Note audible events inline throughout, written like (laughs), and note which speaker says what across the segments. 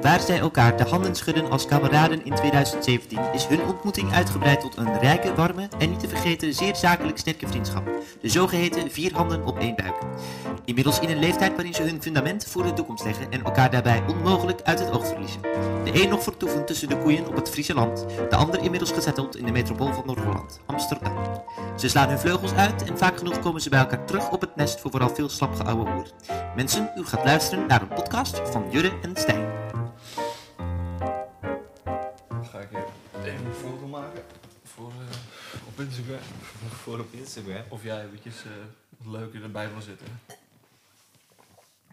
Speaker 1: Waar zij elkaar de handen schudden als kameraden in 2017, is hun ontmoeting uitgebreid tot een rijke, warme en niet te vergeten zeer zakelijk sterke vriendschap. De zogeheten vier handen op één buik. Inmiddels in een leeftijd waarin ze hun fundament voor de toekomst leggen en elkaar daarbij onmogelijk uit het oog verliezen. De een nog vertoevend tussen de koeien op het Friese land, de ander inmiddels gezetteld in de metropool van Noord-Holland, Amsterdam. Ze slaan hun vleugels uit en vaak genoeg komen ze bij elkaar terug op het nest voor vooral veel slapgeouwe hoer. Mensen, u gaat luisteren naar een podcast van Jurre en Stijn.
Speaker 2: Ga ik even een foto maken voor, eh, op Instagram.
Speaker 3: Voor op Instagram.
Speaker 2: Of jij eventjes eh, wat leuker erbij wil zitten.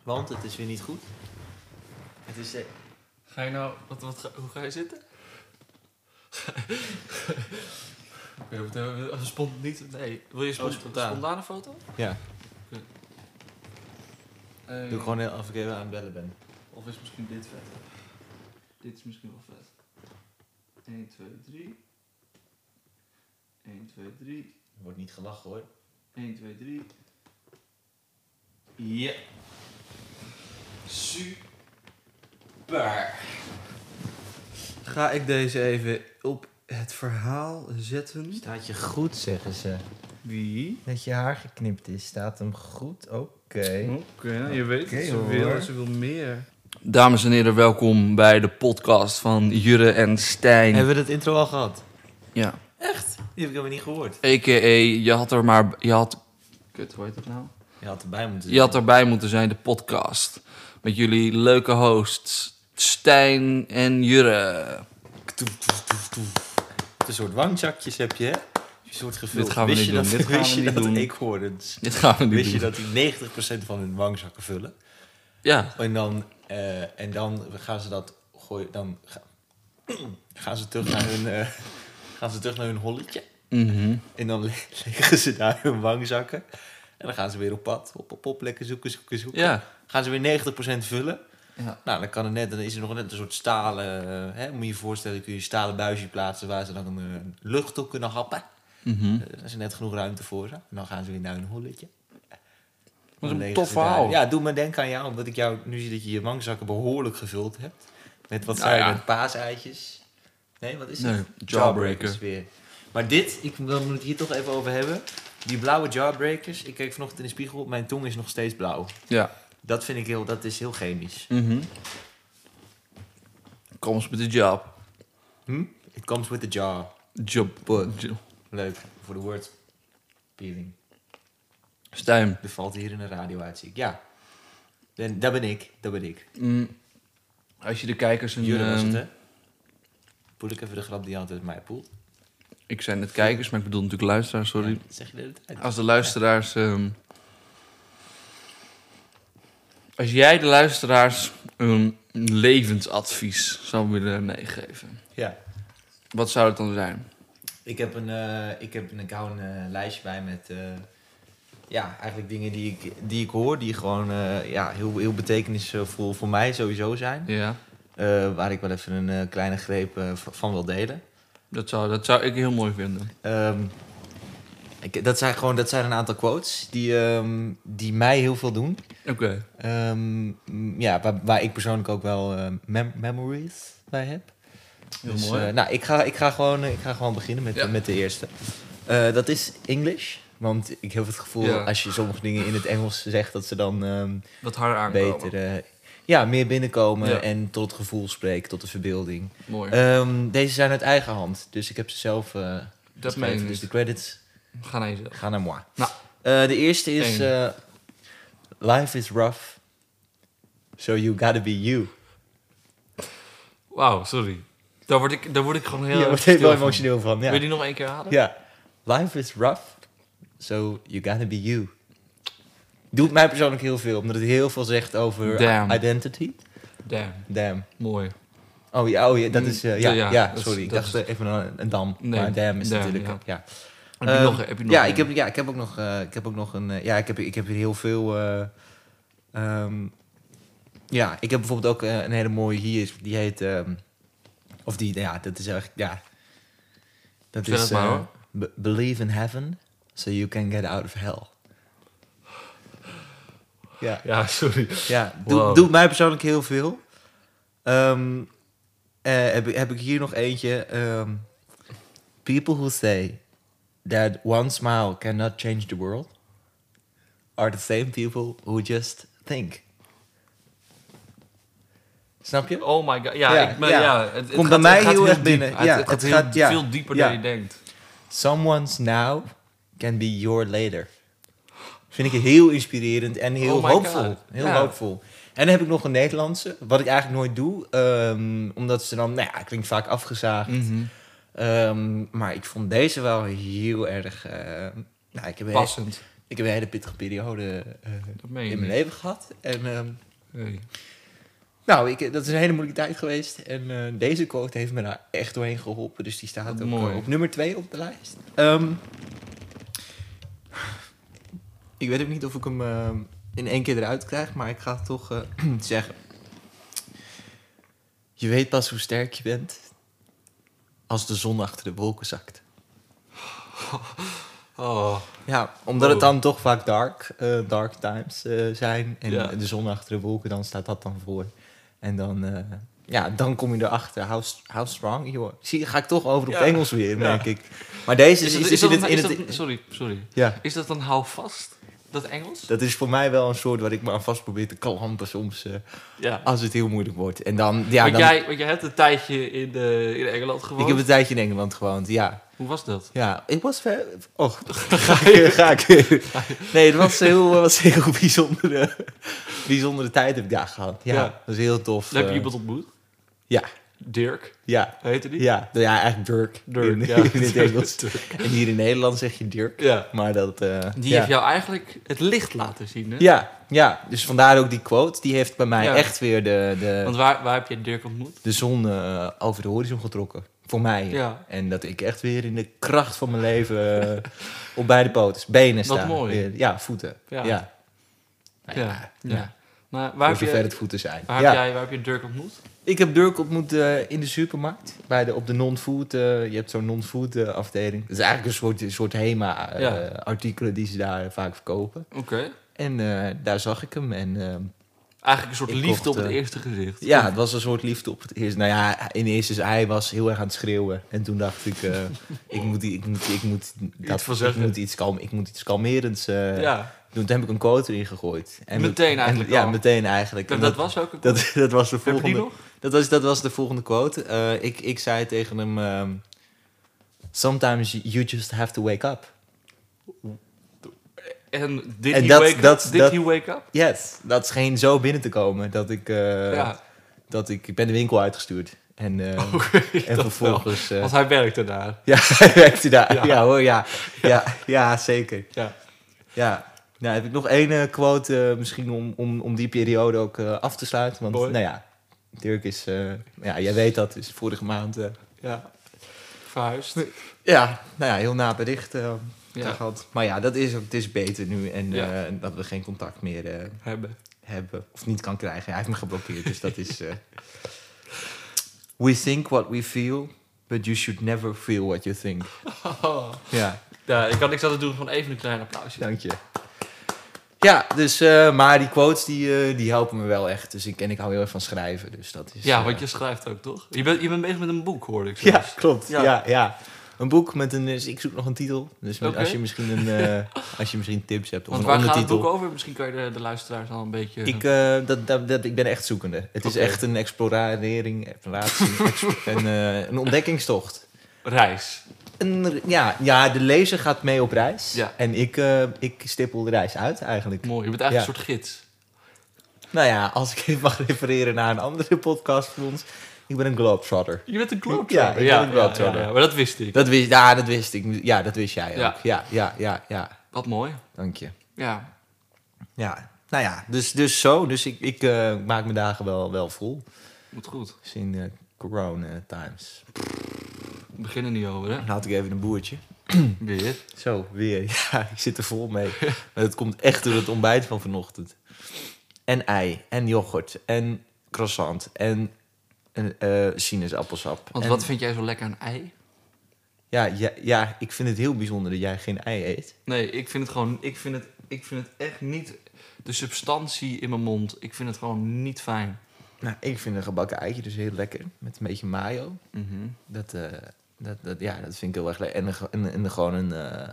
Speaker 3: Want het is weer niet goed. Het is... eh,
Speaker 2: Ga je nou, wat, wat, ga- hoe ga je (laughs) zitten? Oké, wat hebben we- eh, spont niet, nee. Wil je spont-
Speaker 3: Oh, spontaan.
Speaker 2: spontane foto?
Speaker 3: ja,
Speaker 2: Eh,
Speaker 3: doe ik gewoon heel- als ik even aan het bellen ben.
Speaker 2: Of is misschien dit vet? Dit is misschien wel vet. 1, 2, 3. 1, 2, 3.
Speaker 3: Wordt niet gelachen hoor.
Speaker 2: 1, 2, 3. Ja. Super. Ga ik deze even op het verhaal zetten?
Speaker 3: Staat je goed, zeggen ze.
Speaker 2: Wie?
Speaker 3: Dat je haar geknipt is, staat hem goed? Oké.
Speaker 2: Oké, nou, je weet
Speaker 3: Hm? Oké, hoor.
Speaker 2: wil meer. Dames en heren, welkom bij de podcast van Jurre en Stijn.
Speaker 3: Hebben we dat intro al gehad?
Speaker 2: Ja.
Speaker 3: Die heb ik helemaal niet gehoord.
Speaker 2: A.k.a. je had er maar... Je had... Kut, hoe heet dat nou?
Speaker 3: Je had erbij moeten
Speaker 2: Je had erbij moeten zijn, de podcast. Met jullie leuke hosts Stijn en Jurre.
Speaker 3: Een soort wangjakjes heb je, hè? Een soort gevuld.
Speaker 2: Dit gaan we
Speaker 3: Wist
Speaker 2: niet
Speaker 3: je
Speaker 2: doen,
Speaker 3: Dat,
Speaker 2: dit gaan
Speaker 3: wist
Speaker 2: we
Speaker 3: je
Speaker 2: niet
Speaker 3: dat
Speaker 2: doen.
Speaker 3: eekhoorns...
Speaker 2: Dit gaan we nu
Speaker 3: Wist je
Speaker 2: doen.
Speaker 3: dat die 90% van hun wangzakken vullen?
Speaker 2: Ja.
Speaker 3: En dan, eh, en dan gaan ze dat gooien. Dan ga- (clears throat) gaan, ze terug naar hun, eh, gaan ze terug naar hun holletje.
Speaker 2: Mhm.
Speaker 3: En dan le- (laughs) leggen ze daar hun wangzakken. En dan gaan ze weer op pad. Op, op, op, lekker zoeken, zoeken, zoeken.
Speaker 2: Ja.
Speaker 3: Gaan ze weer 90% vullen.
Speaker 2: Ja.
Speaker 3: Nou, dan kan het net. Dan is er nog net een soort stalen. eh, hè, moet je je voorstellen, kun je een stalen buisje plaatsen waar ze dan een, eh, lucht op kunnen happen.
Speaker 2: Mhm.
Speaker 3: Eh, Daar is er net genoeg ruimte voor ze. En dan gaan ze weer naar hun holletje. Dan
Speaker 2: Wat een
Speaker 3: leggen
Speaker 2: tof
Speaker 3: ze daar-
Speaker 2: verhaal.
Speaker 3: Ja, doe me denken aan jou, omdat ik jou nu zie dat je je wangzakken behoorlijk gevuld hebt. Met wat
Speaker 2: Nou
Speaker 3: zijn
Speaker 2: ja.
Speaker 3: het? Paaseitjes? Nee, wat is
Speaker 2: Nee,
Speaker 3: het?
Speaker 2: jawbreaker.
Speaker 3: weer. Maar dit, ik wil moet het hier toch even over hebben. Die blauwe jawbreakers. Ik keek vanochtend in de spiegel, mijn tong is nog steeds blauw.
Speaker 2: Ja.
Speaker 3: Dat vind ik heel, dat is heel chemisch.
Speaker 2: Mhm. Kom eens met de job.
Speaker 3: Hm? It comes with the jar.
Speaker 2: Job. job.
Speaker 3: Leuk, voor de word peeling.
Speaker 2: Stijn.
Speaker 3: Er valt hier in de radio uit, zie ik. Ja. En daar ben ik, daar ben ik.
Speaker 2: Mm. Als je de kijkers een...
Speaker 3: Jurre was het,
Speaker 2: ehm,
Speaker 3: hè? Poel ik even de grap die altijd mij poelt.
Speaker 2: Ik zei net kijkers, maar ik bedoel natuurlijk luisteraars, sorry.
Speaker 3: Ja, dat zeg je de hele tijd.
Speaker 2: Als de luisteraars... ehm, als jij de luisteraars een levensadvies zou willen meegeven,
Speaker 3: Ja.
Speaker 2: wat zou het dan zijn?
Speaker 3: Ik heb een, eh, ik heb een, ik hou een eh, lijstje bij met eh, ja, eigenlijk dingen die ik, die ik hoor, die gewoon eh, ja, heel, heel betekenisvol voor mij sowieso zijn.
Speaker 2: Ja,
Speaker 3: Eh, waar ik wel even een eh, kleine greep eh, v- van wil delen.
Speaker 2: dat zou, dat zou ik heel mooi vinden.
Speaker 3: Ehm, ik, dat, zijn gewoon, dat zijn een aantal quotes die, ehm, die mij heel veel doen.
Speaker 2: Oké.
Speaker 3: Ehm, m, ja, waar, waar ik persoonlijk ook wel eh, mem- memories bij heb.
Speaker 2: Heel
Speaker 3: Dus,
Speaker 2: mooi.
Speaker 3: eh, nou, ik ga, ik, ga gewoon, eh, ik ga gewoon beginnen met,
Speaker 2: Ja.
Speaker 3: met de eerste. Eh, dat is English. Want ik heb het gevoel,
Speaker 2: Ja.
Speaker 3: als je sommige dingen in het Engels zegt, dat ze dan ehm,
Speaker 2: Wat harder aankomen.
Speaker 3: beter... eh, ja, meer binnenkomen
Speaker 2: Ja.
Speaker 3: en tot het gevoel spreken, tot de verbeelding.
Speaker 2: Mooi.
Speaker 3: Ehm, deze zijn uit eigen hand, dus ik heb ze zelf eh
Speaker 2: dat
Speaker 3: geschreven.
Speaker 2: meen ik
Speaker 3: Dus de
Speaker 2: niet.
Speaker 3: credits
Speaker 2: Ga naar jezelf.
Speaker 3: gaan naar moi.
Speaker 2: Nou.
Speaker 3: Eh, de eerste is...
Speaker 2: Eén.
Speaker 3: eh, Life is rough, so you gotta be you.
Speaker 2: Wauw, sorry. Daar word ik, daar word ik gewoon heel
Speaker 3: Hier
Speaker 2: erg
Speaker 3: wordt heel
Speaker 2: stil van.
Speaker 3: emotioneel van. Ja.
Speaker 2: Wil je die nog één keer halen?
Speaker 3: Ja. Life is rough, so you gotta be you. Doet mij persoonlijk heel veel, omdat het heel veel zegt over
Speaker 2: Damn.
Speaker 3: identity.
Speaker 2: Damn,
Speaker 3: Damn.
Speaker 2: mooi.
Speaker 3: Oh ja, oh, ja dat
Speaker 2: Mm,
Speaker 3: is... eh, ja,
Speaker 2: ja,
Speaker 3: ja,
Speaker 2: dat is-
Speaker 3: sorry. Ik
Speaker 2: dat
Speaker 3: dacht eh, even een, een dam.
Speaker 2: Nee,
Speaker 3: maar damn is
Speaker 2: damn,
Speaker 3: natuurlijk...
Speaker 2: ja.
Speaker 3: Ja, ja.
Speaker 2: Heb je
Speaker 3: Ehm,
Speaker 2: nog, heb je nog
Speaker 3: ja,
Speaker 2: één?
Speaker 3: ik heb, ja, ik heb ook nog, eh, ik heb ook nog een... eh, ja, ik heb, ik heb hier heel veel... eh, ehm, ja, ik heb bijvoorbeeld ook eh, een hele mooie hier. Die heet... ehm, of die, ja, dat is eigenlijk... Ja, dat
Speaker 2: Zeg
Speaker 3: is...
Speaker 2: het maar,
Speaker 3: eh,
Speaker 2: hoor.
Speaker 3: be- believe in heaven, so you can get out of hell. Ja,
Speaker 2: Ja, sorry.
Speaker 3: ja doet
Speaker 2: Wow.
Speaker 3: doet mij persoonlijk heel veel. Ehm, eh, heb, ik- heb ik hier nog eentje. ehm, people who say that one smile cannot change the world are the same people who just think. Snap je?
Speaker 2: Oh my god. Ja,
Speaker 3: Ja,
Speaker 2: ik ben,
Speaker 3: ja.
Speaker 2: ja. het- het
Speaker 3: Komt
Speaker 2: gaat-
Speaker 3: bij mij
Speaker 2: het gaat
Speaker 3: heel erg
Speaker 2: diep.
Speaker 3: binnen.
Speaker 2: Het,
Speaker 3: Ja,
Speaker 2: het
Speaker 3: het
Speaker 2: gaat, heel-
Speaker 3: gaat- ja.
Speaker 2: veel dieper
Speaker 3: Ja.
Speaker 2: dan je denkt.
Speaker 3: Someone's now can be your later. Vind ik heel inspirerend en heel
Speaker 2: Oh my
Speaker 3: hoopvol.
Speaker 2: God.
Speaker 3: Heel
Speaker 2: Ja.
Speaker 3: hoopvol. En dan heb ik nog een Nederlandse, wat ik eigenlijk nooit doe. ehm, omdat ze dan, nou ja, klinkt vaak afgezaagd.
Speaker 2: Mhm.
Speaker 3: Ehm, maar ik vond deze wel heel erg... eh, nou, ik heb, een,
Speaker 2: Passend.
Speaker 3: ik heb een hele pittige periode eh,
Speaker 2: Dat meen je
Speaker 3: in mijn
Speaker 2: niet.
Speaker 3: leven gehad. En, ehm,
Speaker 2: Nee.
Speaker 3: nou, ik, dat is een hele moeilijke tijd geweest. En eh, deze quote heeft me daar echt doorheen geholpen. Dus die staat
Speaker 2: Wat
Speaker 3: ook
Speaker 2: mooi.
Speaker 3: eh, op nummer 2 op de lijst. Ehm, ik weet ook niet of ik hem eh, in één keer eruit krijg, maar ik ga het toch eh, (clears throat) zeggen. Je weet pas hoe sterk je bent als de zon achter de wolken zakt.
Speaker 2: Oh,
Speaker 3: Ja, omdat het
Speaker 2: Wow.
Speaker 3: dan toch vaak dark, eh, dark times eh, zijn. En
Speaker 2: Ja.
Speaker 3: de zon achter de wolken, dan staat dat dan voor. En dan, eh, ja, dan kom je erachter. How, st- how strong you are. Zie, ga ik toch over op
Speaker 2: Ja.
Speaker 3: het Engels weer,
Speaker 2: Ja.
Speaker 3: merk ik. Maar deze
Speaker 2: is,
Speaker 3: is,
Speaker 2: dat-
Speaker 3: is,
Speaker 2: is dat
Speaker 3: in
Speaker 2: dan-
Speaker 3: het... In
Speaker 2: is dat-
Speaker 3: het
Speaker 2: sorry, sorry.
Speaker 3: ja,
Speaker 2: Is dat dan houvast? Dat Engels?
Speaker 3: dat is voor mij wel een soort waar ik me aan vast probeer te klampen soms. eh,
Speaker 2: Ja.
Speaker 3: als het heel moeilijk wordt. En dan, ja,
Speaker 2: want,
Speaker 3: dan...
Speaker 2: jij, want jij hebt een tijdje in, eh, in Engeland gewoond.
Speaker 3: Ik heb een tijdje in Engeland gewoond, ja.
Speaker 2: Hoe was dat?
Speaker 3: Ja, ik was ver...
Speaker 2: (laughs)
Speaker 3: Och, ga ik... Ga ik nee, het was heel, was heel bijzondere, bijzondere tijd heb ik daar gehad. Ja,
Speaker 2: Ja.
Speaker 3: dat was heel tof.
Speaker 2: Daar heb je
Speaker 3: eh,
Speaker 2: iemand ontmoet?
Speaker 3: Ja,
Speaker 2: Dirk,
Speaker 3: ja.
Speaker 2: heette die?
Speaker 3: Ja, nou ja, eigenlijk Dirk.
Speaker 2: Dirk,
Speaker 3: in,
Speaker 2: ja.
Speaker 3: (laughs) in het
Speaker 2: (laughs)
Speaker 3: Engels. En hier in Nederland zeg je Dirk.
Speaker 2: Ja.
Speaker 3: Maar dat... eh,
Speaker 2: Die
Speaker 3: ja.
Speaker 2: heeft jou eigenlijk het licht laten zien, hè?
Speaker 3: Ja, ja, dus vandaar ook die quote. Die heeft bij mij
Speaker 2: Ja.
Speaker 3: echt weer de, de,
Speaker 2: Want waar, waar heb je Dirk ontmoet?
Speaker 3: de zon eh, over de horizon getrokken. Voor mij.
Speaker 2: Ja.
Speaker 3: En dat ik echt weer in de kracht van mijn leven eh, op beide poten, benen sta.
Speaker 2: Wat mooi.
Speaker 3: Weer. Ja, voeten. Ja.
Speaker 2: Ja.
Speaker 3: Ja. Nou ja,
Speaker 2: Ja.
Speaker 3: ja.
Speaker 2: Ja. Maar waar, heb
Speaker 3: Voor
Speaker 2: je,
Speaker 3: zover het voeten zijn.
Speaker 2: waar,
Speaker 3: ja.
Speaker 2: heb jij, waar heb je Dirk ontmoet?
Speaker 3: Ik heb Dirk ontmoet eh, in de supermarkt. Bij de, op de non-food. eh, je hebt zo'n non-food eh, afdeling. Dat is eigenlijk een soort, een soort
Speaker 2: Ja.
Speaker 3: HEMA-artikelen die ze daar vaak verkopen.
Speaker 2: Oké.
Speaker 3: En eh, daar zag ik hem. En eh,
Speaker 2: Eigenlijk een soort
Speaker 3: Ik
Speaker 2: liefde
Speaker 3: kocht,
Speaker 2: op het
Speaker 3: eh,
Speaker 2: eerste gezicht.
Speaker 3: ja, het was een soort liefde op het eerste. Nou ja, in eerste is hij was heel erg aan het schreeuwen. En toen dacht ik,
Speaker 2: (laughs)
Speaker 3: eh, ik moet, die- ik moet, ik moet, dat,
Speaker 2: van
Speaker 3: ik
Speaker 2: zeggen.
Speaker 3: moet iets, kalm, ik moet iets kalmerends eh,
Speaker 2: Ja.
Speaker 3: doen. Toen heb ik een quote erin gegooid. En
Speaker 2: Meteen
Speaker 3: en-
Speaker 2: eigenlijk
Speaker 3: ja,
Speaker 2: al.
Speaker 3: meteen eigenlijk.
Speaker 2: Dat,
Speaker 3: En
Speaker 2: dat was ook een...
Speaker 3: dat, (laughs) dat was de
Speaker 2: heb je die
Speaker 3: volgende.
Speaker 2: nog?
Speaker 3: Dat was, dat was de volgende quote. Eh, ik, ik zei tegen hem... ehm, Sometimes you just have to wake up.
Speaker 2: En did,
Speaker 3: En
Speaker 2: he,
Speaker 3: dat-
Speaker 2: wake
Speaker 3: dat-
Speaker 2: up? did
Speaker 3: dat-
Speaker 2: he wake up?
Speaker 3: Yes. Dat scheen zo binnen te komen dat ik... eh,
Speaker 2: ja,
Speaker 3: dat ik, ik ben de winkel uitgestuurd. En, eh,
Speaker 2: (laughs) oké.
Speaker 3: en
Speaker 2: dat wel.
Speaker 3: vervolgens... eh,
Speaker 2: Want hij werkte daar.
Speaker 3: (laughs) ja, hij werkte daar. Ja,
Speaker 2: Ja.
Speaker 3: hoor, ja. Ja, ja zeker.
Speaker 2: Ja.
Speaker 3: Ja. Nou, heb ik nog één eh, quote eh, misschien om, om, om die periode ook eh, af te sluiten. Want
Speaker 2: Mooi.
Speaker 3: nou ja, Dirk is... eh, ja, jij weet dat, is vorige maand... eh,
Speaker 2: Ja. Verhuisd.
Speaker 3: Ja, nou ja, heel na bericht eh, daar
Speaker 2: Ja.
Speaker 3: gehad. Maar ja, dat is ook, het is beter nu en
Speaker 2: Ja.
Speaker 3: eh, dat we geen contact meer eh,
Speaker 2: Hebben.
Speaker 3: hebben of niet kan krijgen. Hij heeft me geblokkeerd, dus dat
Speaker 2: (laughs)
Speaker 3: is. eh, we think what we feel, but you should never feel what you
Speaker 2: (laughs)
Speaker 3: think. Ja,
Speaker 2: Ja, ik kan niks aan doen van even een klein applausje.
Speaker 3: dank je. Ja, dus, eh, maar die quotes die, eh, die helpen me wel echt. Dus ik, en ik hou heel erg van schrijven, dus dat is.
Speaker 2: Ja,
Speaker 3: eh,
Speaker 2: want je schrijft ook, toch? Je bent, je bent bezig met een boek, hoorde ik.
Speaker 3: Ja,
Speaker 2: zelfs.
Speaker 3: klopt. Ja.
Speaker 2: Ja.
Speaker 3: Ja, Een boek met een... dus Ik zoek nog een titel. Dus met-
Speaker 2: Oké.
Speaker 3: als, je misschien een, eh, als je misschien tips hebt of
Speaker 2: Want
Speaker 3: een
Speaker 2: waar gaat het
Speaker 3: ondertitel.
Speaker 2: boek over? Misschien kan je de, de luisteraars al een beetje...
Speaker 3: Ik, eh, dat, dat, dat, ik ben echt zoekende. Het is
Speaker 2: Oké.
Speaker 3: echt een explorering, exploratie, (laughs) ex- een, eh, een ontdekkingstocht.
Speaker 2: Reis.
Speaker 3: Een, ja, ja, de lezer gaat mee op reis.
Speaker 2: Ja.
Speaker 3: En ik, eh, ik stippel de reis uit eigenlijk.
Speaker 2: Mooi. Je bent eigenlijk een soort gids.
Speaker 3: Nou ja, als ik even (laughs) mag refereren naar een andere podcast van ons. Ik ben een globetrotter.
Speaker 2: Je bent een globetrotter.
Speaker 3: Ja, ik ben een globetrotter.
Speaker 2: ja, ja, maar dat wist ik.
Speaker 3: Dat wist, ja, dat wist ik. Ja, dat wist jij ook.
Speaker 2: Ja.
Speaker 3: ja, ja, ja. ja.
Speaker 2: Wat mooi.
Speaker 3: Dank je.
Speaker 2: Ja.
Speaker 3: Ja, nou ja, dus, dus zo. Dus ik, ik eh, maak mijn dagen wel, wel vol.
Speaker 2: Moet goed.
Speaker 3: Dus in eh, corona times.
Speaker 2: We beginnen niet over, hè?
Speaker 3: Dan had ik even een boertje.
Speaker 2: Weer.
Speaker 3: Zo, weer. (laughs) Ja, ik zit er vol
Speaker 2: (laughs)
Speaker 3: mee. Maar dat komt echt door het ontbijt van vanochtend. En ei, en yoghurt, en croissant, en, en eh, sinaasappelsap.
Speaker 2: Want
Speaker 3: En-
Speaker 2: wat vind jij zo lekker aan ei?
Speaker 3: ja, ja, ja, ik vind het heel bijzonder dat jij geen ei eet.
Speaker 2: Nee, ik vind het gewoon... Ik vind het, ik vind het echt niet... De substantie in mijn mond. Ik vind het gewoon niet fijn.
Speaker 3: Nou, ik vind een gebakken eitje dus heel lekker. Met een beetje mayo.
Speaker 2: Mhm.
Speaker 3: Dat, eh, dat, dat, ja, dat vind ik heel erg lekker. En, een ge- en, en gewoon een eh,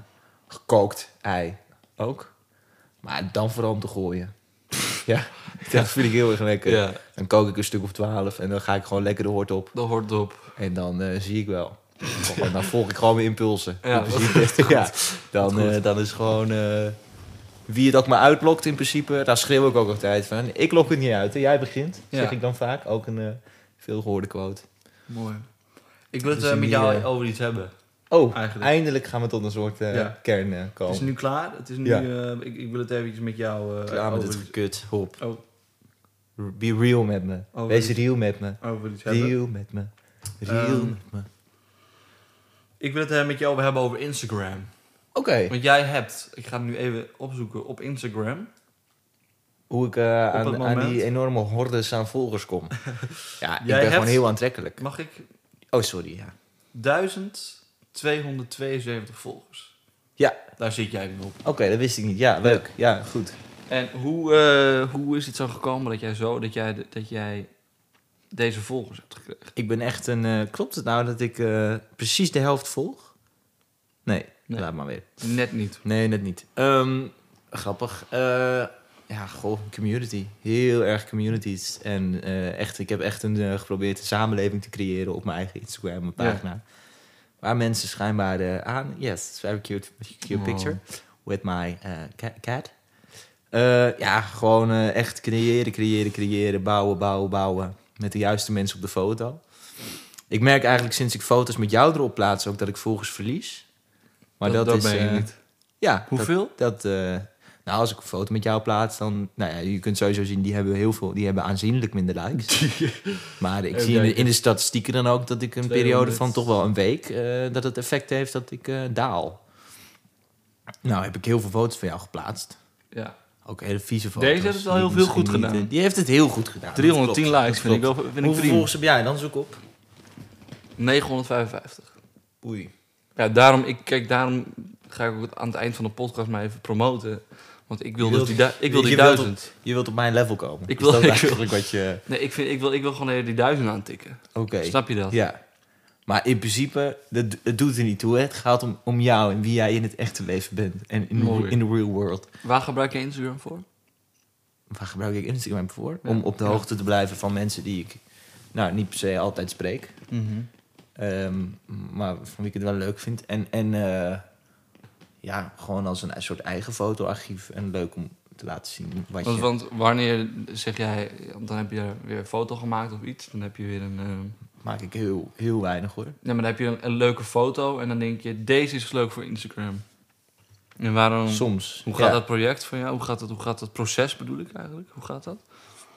Speaker 3: gekookt ei ook. Maar dan vooral om te
Speaker 2: (laughs)
Speaker 3: gooien. ja, dat vind ik heel erg lekker.
Speaker 2: Ja.
Speaker 3: Dan kook ik een stuk of twaalf en dan ga ik gewoon lekker de hoort op.
Speaker 2: Dat hoort op.
Speaker 3: En dan eh, zie ik wel. En
Speaker 2: (laughs)
Speaker 3: dan volg ik gewoon mijn impulsen.
Speaker 2: Ja,
Speaker 3: In principe. (laughs) ja. Dan, eh, dan is gewoon... eh, wie het ook maar uitlokt in principe, daar schreeuw ik ook altijd van. Ik lok het niet uit, hè. jij begint,
Speaker 2: Ja.
Speaker 3: zeg ik dan vaak. Ook een eh, veel veelgehoorde quote.
Speaker 2: Mooi. Ik wil het
Speaker 3: Dus
Speaker 2: eh, met
Speaker 3: die,
Speaker 2: jou
Speaker 3: eh,
Speaker 2: over iets hebben.
Speaker 3: Oh,
Speaker 2: Eigenlijk.
Speaker 3: eindelijk gaan we tot een soort eh,
Speaker 2: Ja.
Speaker 3: kern eh,
Speaker 2: Het
Speaker 3: komen.
Speaker 2: is nu klaar. Het is nu,
Speaker 3: Ja.
Speaker 2: eh, ik, ik wil het eventjes met jou eh,
Speaker 3: Klaar met
Speaker 2: over,
Speaker 3: het
Speaker 2: iets-
Speaker 3: gekut, hop.
Speaker 2: oh,
Speaker 3: Be real met me.
Speaker 2: Oh,
Speaker 3: Wees
Speaker 2: dit-
Speaker 3: real met me.
Speaker 2: over iets hebben.
Speaker 3: Real met me. Real
Speaker 2: Ehm,
Speaker 3: met me. Oké.
Speaker 2: Ik wil het eh, met jou over hebben over Instagram. Want jij hebt, ik ga het nu even opzoeken op Instagram.
Speaker 3: hoe ik eh,
Speaker 2: Op het
Speaker 3: aan, aan
Speaker 2: moment.
Speaker 3: die enorme hordes aan volgers
Speaker 2: (laughs)
Speaker 3: kom. ja, ik ben
Speaker 2: Jij hebt-
Speaker 3: gewoon heel aantrekkelijk.
Speaker 2: Mag ik
Speaker 3: Oh, sorry, ja.
Speaker 2: 1272 volgers.
Speaker 3: Ja.
Speaker 2: Daar zit jij nu op.
Speaker 3: Oké, dat wist ik niet. Ja, leuk. Ja, goed.
Speaker 2: En hoe, eh, hoe is het zo gekomen dat jij zo, dat jij, dat jij deze volgers hebt gekregen?
Speaker 3: Ik ben echt een... eh, klopt het nou dat ik eh, precies de helft volg? Nee,
Speaker 2: Nee.
Speaker 3: laat maar weer.
Speaker 2: Net niet.
Speaker 3: Nee, net niet. Ehm, grappig. Eh, ja, goh, community. Heel erg communities. En eh, echt, ik heb echt een, eh, geprobeerd een samenleving te creëren op mijn eigen Instagram pagina. Waar mensen schijnbaar eh, aan... Yes, it's very cute, cute
Speaker 2: Oh.
Speaker 3: picture. With my eh, ca- cat. Eh, ja, gewoon eh, echt creëren, creëren, creëren. Bouwen, bouwen, bouwen. Met de juiste mensen op de foto. Ik merk eigenlijk sinds ik foto's met jou erop plaats ook dat ik volgers verlies. Maar dat, is...
Speaker 2: ben je
Speaker 3: eh,
Speaker 2: niet.
Speaker 3: ja,
Speaker 2: Hoeveel?
Speaker 3: Dat, dat, eh, nou, als ik een foto met jou plaats, dan... Nou ja, je kunt sowieso zien, die hebben heel veel... Die hebben aanzienlijk minder
Speaker 2: (laughs)
Speaker 3: likes. maar ik
Speaker 2: Even
Speaker 3: zie in de,
Speaker 2: kijken.
Speaker 3: in de statistieken dan ook dat ik een
Speaker 2: 200.
Speaker 3: periode van toch wel een week... eh, dat het effect heeft dat ik eh, daal. Nou, heb ik heel veel foto's van jou geplaatst.
Speaker 2: Ja.
Speaker 3: Ook hele vieze foto's.
Speaker 2: Deze heeft het wel
Speaker 3: die
Speaker 2: heel veel
Speaker 3: misschien
Speaker 2: goed
Speaker 3: niet,
Speaker 2: gedaan.
Speaker 3: eh, die heeft het heel goed gedaan.
Speaker 2: 310
Speaker 3: Dat klopt, dat
Speaker 2: likes vind ik wel
Speaker 3: klopt.
Speaker 2: vind ik
Speaker 3: Hoeveel
Speaker 2: prima.
Speaker 3: volgers heb jij? Dan zoek op.
Speaker 2: 955.
Speaker 3: Oei.
Speaker 2: Ja, daarom, ik, kijk, daarom ga ik ook het- aan het eind van de podcast maar even promoten. Want ik wil,
Speaker 3: Je wilt-
Speaker 2: dus die, du- ik wil
Speaker 3: je
Speaker 2: die
Speaker 3: wilt op-
Speaker 2: duizend.
Speaker 3: Je wilt op mijn level komen.
Speaker 2: Ik
Speaker 3: Is
Speaker 2: wil-
Speaker 3: dat
Speaker 2: (laughs) ik wil-
Speaker 3: eigenlijk wat je...
Speaker 2: Nee, ik, vind, ik, wil, ik wil gewoon even die duizend aantikken.
Speaker 3: Oké.
Speaker 2: Snap je dat?
Speaker 3: Ja. Maar in principe, dat, het doet er niet toe. Hè? Het gaat om, om jou en wie jij in het echte leven bent. En in,
Speaker 2: Mooi.
Speaker 3: in de real world.
Speaker 2: Waar gebruik je Instagram voor?
Speaker 3: Waar gebruik ik Instagram voor?
Speaker 2: Ja.
Speaker 3: Om op de
Speaker 2: Ja.
Speaker 3: hoogte te blijven van mensen die ik nou, niet per se altijd spreek.
Speaker 2: Mhm.
Speaker 3: Ehm, maar van wie ik het wel leuk vind. En, en eh, ja, gewoon als een soort eigen fotoarchief. En leuk om te laten zien wat
Speaker 2: Want,
Speaker 3: je...
Speaker 2: want wanneer zeg jij, dan heb je weer een foto gemaakt of iets, dan heb je weer een. eh,
Speaker 3: Maak ik heel, heel weinig hoor.
Speaker 2: nee, maar dan heb je een, een leuke foto en dan denk je, deze is leuk voor Instagram. En waarom?
Speaker 3: Soms.
Speaker 2: Hoe
Speaker 3: Ja.
Speaker 2: gaat dat project van jou? Hoe gaat dat, hoe gaat dat proces bedoel ik eigenlijk? Hoe gaat dat?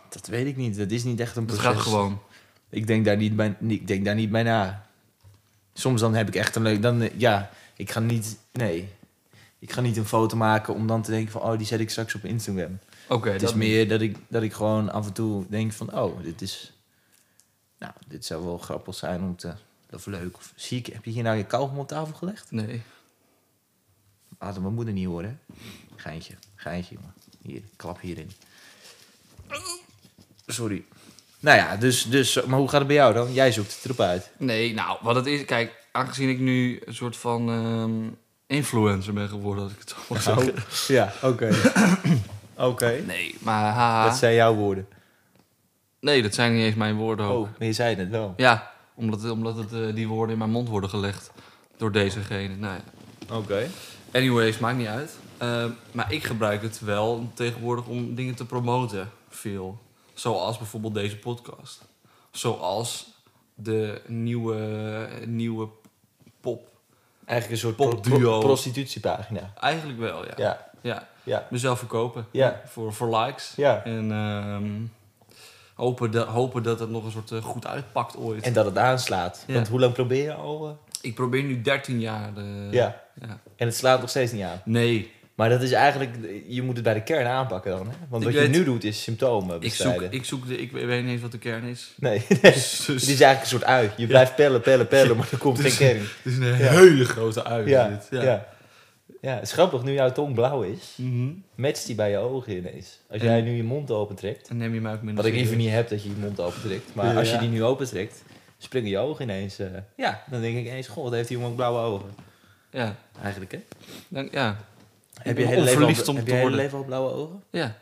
Speaker 3: Dat weet ik niet. Dat is niet echt een
Speaker 2: Het
Speaker 3: proces.
Speaker 2: gaat gewoon.
Speaker 3: Ik denk daar niet bij, ik denk daar niet bij na. Soms dan heb ik echt een leuk... Dan, eh, ja, ik ga niet... Nee. Ik ga niet een foto maken om dan te denken van... Oh, die zet ik straks op Instagram.
Speaker 2: Oké,
Speaker 3: Het
Speaker 2: dat
Speaker 3: is meer dat ik, dat ik gewoon af en toe denk van... Oh, dit is... Nou, dit zou wel grappig zijn om te... Of leuk. Of zie ik... Heb je hier nou je kauwgom op tafel gelegd?
Speaker 2: Nee.
Speaker 3: Laat het mijn moeder niet horen. hè? Geintje. Geintje, jongen. Hier, klap hierin. Sorry. Nou ja, dus, dus... Maar hoe gaat het bij jou dan? Jij zoekt het erop uit.
Speaker 2: Nee, nou, wat het is, kijk, aangezien ik nu een soort van ehm, influencer ben geworden, als ik het zo
Speaker 3: Oh.
Speaker 2: mag zeggen.
Speaker 3: Ja, oké. (coughs) oké.
Speaker 2: Nee, maar haha.
Speaker 3: Dat zijn jouw woorden.
Speaker 2: Nee, dat zijn niet eens mijn woorden ook.
Speaker 3: Oh, maar je zei het wel.
Speaker 2: Ja, omdat, omdat het, eh, die woorden in mijn mond worden gelegd door dezegene. Nou ja.
Speaker 3: Oké.
Speaker 2: Anyways, maakt niet uit. Ehm, maar ik gebruik het wel tegenwoordig om dingen te promoten. Veel. Zoals bijvoorbeeld deze podcast. Zoals de nieuwe, nieuwe pop.
Speaker 3: Eigenlijk een soort
Speaker 2: Popduo.
Speaker 3: pro- pro- prostitutiepagina.
Speaker 2: Eigenlijk wel, ja.
Speaker 3: Ja,
Speaker 2: ja.
Speaker 3: ja,
Speaker 2: Mezelf verkopen.
Speaker 3: Ja.
Speaker 2: Voor, voor likes.
Speaker 3: ja.
Speaker 2: En ehm, hopen, dat, hopen dat het nog een soort eh, goed uitpakt ooit.
Speaker 3: En dat het aanslaat.
Speaker 2: Ja.
Speaker 3: Want hoe lang probeer je al? eh?
Speaker 2: Ik probeer nu 13 jaar. eh,
Speaker 3: Ja.
Speaker 2: ja.
Speaker 3: En het slaat nog steeds niet aan.
Speaker 2: Nee,
Speaker 3: Maar dat is eigenlijk... Je moet het bij de kern aanpakken dan, hè? Want
Speaker 2: Ik
Speaker 3: wat je
Speaker 2: weet-
Speaker 3: nu doet is symptomen
Speaker 2: ik zoek,
Speaker 3: bestrijden.
Speaker 2: ik zoek de, ik weet niet eens wat de kern
Speaker 3: (laughs)
Speaker 2: is.
Speaker 3: Nee, nee.
Speaker 2: Dus,
Speaker 3: Het is eigenlijk een soort ui. Je
Speaker 2: (laughs)
Speaker 3: blijft pellen, pellen, pellen, maar er komt geen kern.
Speaker 2: het is een hele grote ui.
Speaker 3: Ja,
Speaker 2: dit.
Speaker 3: ja. ja. Ja, het is grappig, nu jouw tong blauw is,
Speaker 2: Mhm.
Speaker 3: matcht die bij je ogen ineens. Als jij nu je mond opentrekt,
Speaker 2: Dan neem je mij ook minder
Speaker 3: wat ik liever
Speaker 2: serieus.
Speaker 3: niet heb dat je je mond opentrekt, maar
Speaker 2: Ja,
Speaker 3: als je
Speaker 2: ja.
Speaker 3: die nu opentrekt, springen je ogen ineens. eh, ja, dan denk ik ineens, goh, wat heeft die jongen ook blauwe ogen?
Speaker 2: Ja,
Speaker 3: Eigenlijk, hè?
Speaker 2: dan, ja,
Speaker 3: Heb
Speaker 2: ben
Speaker 3: je hele leven al-
Speaker 2: onverliefd om
Speaker 3: heb
Speaker 2: te
Speaker 3: je hele
Speaker 2: worden.
Speaker 3: leven al blauwe ogen?
Speaker 2: ja.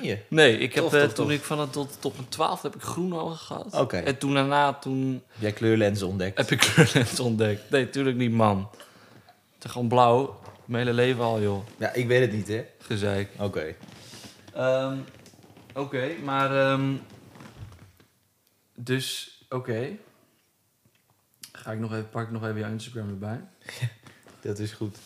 Speaker 3: Nee.
Speaker 2: (laughs) Nee, ik heb,
Speaker 3: Tof,
Speaker 2: eh,
Speaker 3: tof,
Speaker 2: toen
Speaker 3: tof.
Speaker 2: ik van het tot, tot mijn twaalfde heb ik groene ogen gehad.
Speaker 3: Oké.
Speaker 2: En toen daarna, toen
Speaker 3: Heb jij kleurlenzen ontdekt?
Speaker 2: heb ik (laughs) kleurlens ontdekt. Nee, tuurlijk niet, man. Het is gewoon blauw. Mijn hele leven al, joh.
Speaker 3: Ja, ik weet het niet, hè?
Speaker 2: Gezeik.
Speaker 3: Oké.
Speaker 2: Ehm, oké, maar... ehm, dus, oké. Ga ik nog even, pak ik nog even jouw Instagram erbij.
Speaker 3: Dat is goed.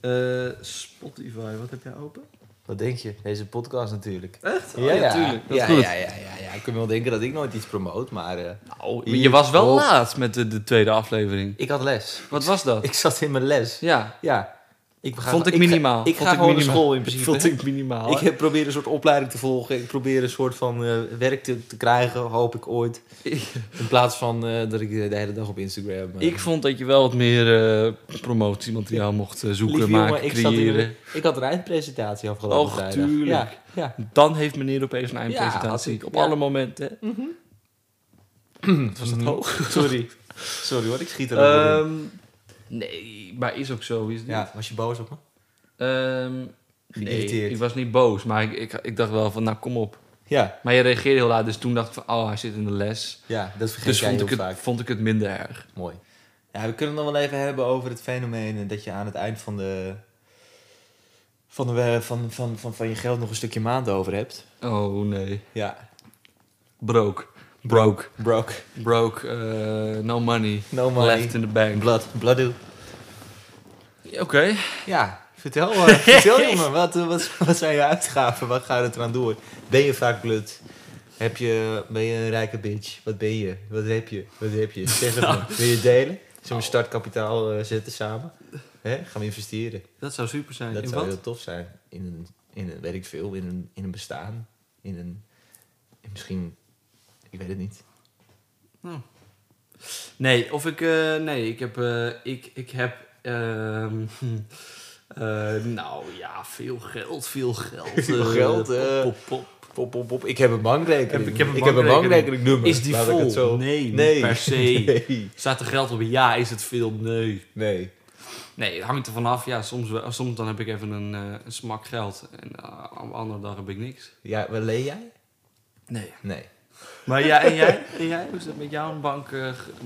Speaker 2: Eh, Spotify, wat heb jij open?
Speaker 3: Wat denk je? Deze podcast natuurlijk.
Speaker 2: Echt?
Speaker 3: Oh,
Speaker 2: Oh,
Speaker 3: ja, ja,
Speaker 2: tuurlijk. Dat
Speaker 3: ja,
Speaker 2: is goed.
Speaker 3: ja, ja, ja, ja. Ik kan wel denken dat ik nooit iets promoot, maar eh,
Speaker 2: Nou, je was wel
Speaker 3: Hop.
Speaker 2: laat met de, de tweede aflevering.
Speaker 3: ik had les.
Speaker 2: Wat was dat?
Speaker 3: Ik zat in mijn les.
Speaker 2: Ja,
Speaker 3: Ja. Ik ga,
Speaker 2: vond ik
Speaker 3: ga-
Speaker 2: minimaal.
Speaker 3: Ik ga,
Speaker 2: Vond ik
Speaker 3: gewoon
Speaker 2: minimaal.
Speaker 3: naar school in principe.
Speaker 2: vond ik minimaal.
Speaker 3: Ik heb probeer een soort opleiding te volgen. Ik probeer een soort van eh, werk te, te krijgen, hoop ik
Speaker 2: (laughs)
Speaker 3: ooit. In plaats van eh, dat ik eh, de hele dag op Instagram... eh,
Speaker 2: Ik vond dat je wel wat meer eh, promotiemateriaal mocht eh, zoeken,
Speaker 3: lieve
Speaker 2: maken,
Speaker 3: jongen, ik zat in
Speaker 2: creëren.
Speaker 3: een- ik had een eindpresentatie afgelopen
Speaker 2: Och,
Speaker 3: vrijdag.
Speaker 2: tuurlijk.
Speaker 3: Ja, ja.
Speaker 2: Dan heeft meneer opeens een eindpresentatie.
Speaker 3: had ik,
Speaker 2: op
Speaker 3: ja.
Speaker 2: alle momenten.
Speaker 3: Was dat hoog? Sorry.
Speaker 2: (laughs)
Speaker 3: Sorry hoor, ik schiet er ook in.
Speaker 2: Ehm, nee, maar is ook zo, is het niet?
Speaker 3: Ja, was je boos op me?
Speaker 2: Ehm, nee,
Speaker 3: Geïrriteerd.
Speaker 2: ik was niet boos, maar ik, ik, ik dacht wel van, nou kom op.
Speaker 3: Ja,
Speaker 2: Maar je reageerde heel laat, dus toen dacht ik van, oh, hij zit in de les.
Speaker 3: ja dat vergeet
Speaker 2: Dus
Speaker 3: jij
Speaker 2: vond
Speaker 3: heel
Speaker 2: ik, het,
Speaker 3: vaak.
Speaker 2: vond ik het minder erg.
Speaker 3: Mooi. Ja, we kunnen het nog wel even hebben over het fenomeen eh, dat je aan het eind van de... Van, de, eh, van, van, van, van je geld nog een stukje maand over hebt.
Speaker 2: Oh, nee.
Speaker 3: Ja,
Speaker 2: Broke. Broke.
Speaker 3: broke.
Speaker 2: Broke. eh, no money.
Speaker 3: No money.
Speaker 2: Left in the bank.
Speaker 3: Blood. Bloodoe.
Speaker 2: Oké.
Speaker 3: Ja, vertel,
Speaker 2: (laughs)
Speaker 3: eh, vertel jongen, wat, eh, wat, wat zijn je uitgaven? Wat gaat het eraan door? Ben je vaak blut? Heb je, ben je een rijke bitch? Wat ben je? Wat heb je? Wat heb je? Zeg
Speaker 2: (laughs)
Speaker 3: het me. Wil je delen? Zullen we startkapitaal eh, zetten samen? Hè? Gaan we investeren?
Speaker 2: Dat zou super zijn.
Speaker 3: Dat
Speaker 2: In
Speaker 3: zou
Speaker 2: wat?
Speaker 3: heel tof zijn. In een, in een weet ik veel, in een, in een bestaan. In een, in misschien, ik weet het niet.
Speaker 2: Nee, of ik... eh, nee, ik heb... eh, ik, ik heb... ehm, (laughs) eh, nou ja, veel geld, veel geld.
Speaker 3: Veel
Speaker 2: eh,
Speaker 3: geld, eh.
Speaker 2: pop, pop, pop.
Speaker 3: Pop, pop, pop. Ik heb een bankrekening.
Speaker 2: Heb- ik heb een bankrekening.
Speaker 3: bankrekeningnummer.
Speaker 2: Is die
Speaker 3: Laat ik
Speaker 2: vol?
Speaker 3: het zo-
Speaker 2: Nee, niet
Speaker 3: nee,
Speaker 2: per se.
Speaker 3: (laughs) Nee,
Speaker 2: Staat er geld op? Ja, is het veel? Nee.
Speaker 3: nee.
Speaker 2: Nee, het hangt er vanaf. Ja, soms, wel- soms dan heb ik even een, eh, een smak geld. En eh, op andere dag heb ik niks.
Speaker 3: Ja, wat leen jij?
Speaker 2: Nee.
Speaker 3: Nee.
Speaker 2: Maar ja, en jij? En jij? Hoe is dat met jou? Een bank, eh, ge-
Speaker 3: Ja,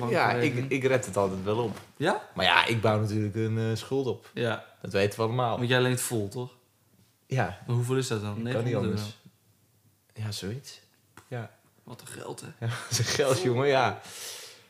Speaker 3: ik,
Speaker 2: bankrekening?
Speaker 3: ik red het altijd wel op.
Speaker 2: Ja?
Speaker 3: Maar ja, ik bouw natuurlijk een eh, schuld op.
Speaker 2: Ja.
Speaker 3: Dat weten we allemaal.
Speaker 2: Want jij leent vol, toch?
Speaker 3: Ja,
Speaker 2: Maar hoeveel is dat dan?
Speaker 3: kan niet
Speaker 2: 900
Speaker 3: anders. Ja, zoiets. (laughs) Ja.
Speaker 2: euro. Wat een geld, hè?
Speaker 3: ja dat is een geld, jongen, ja.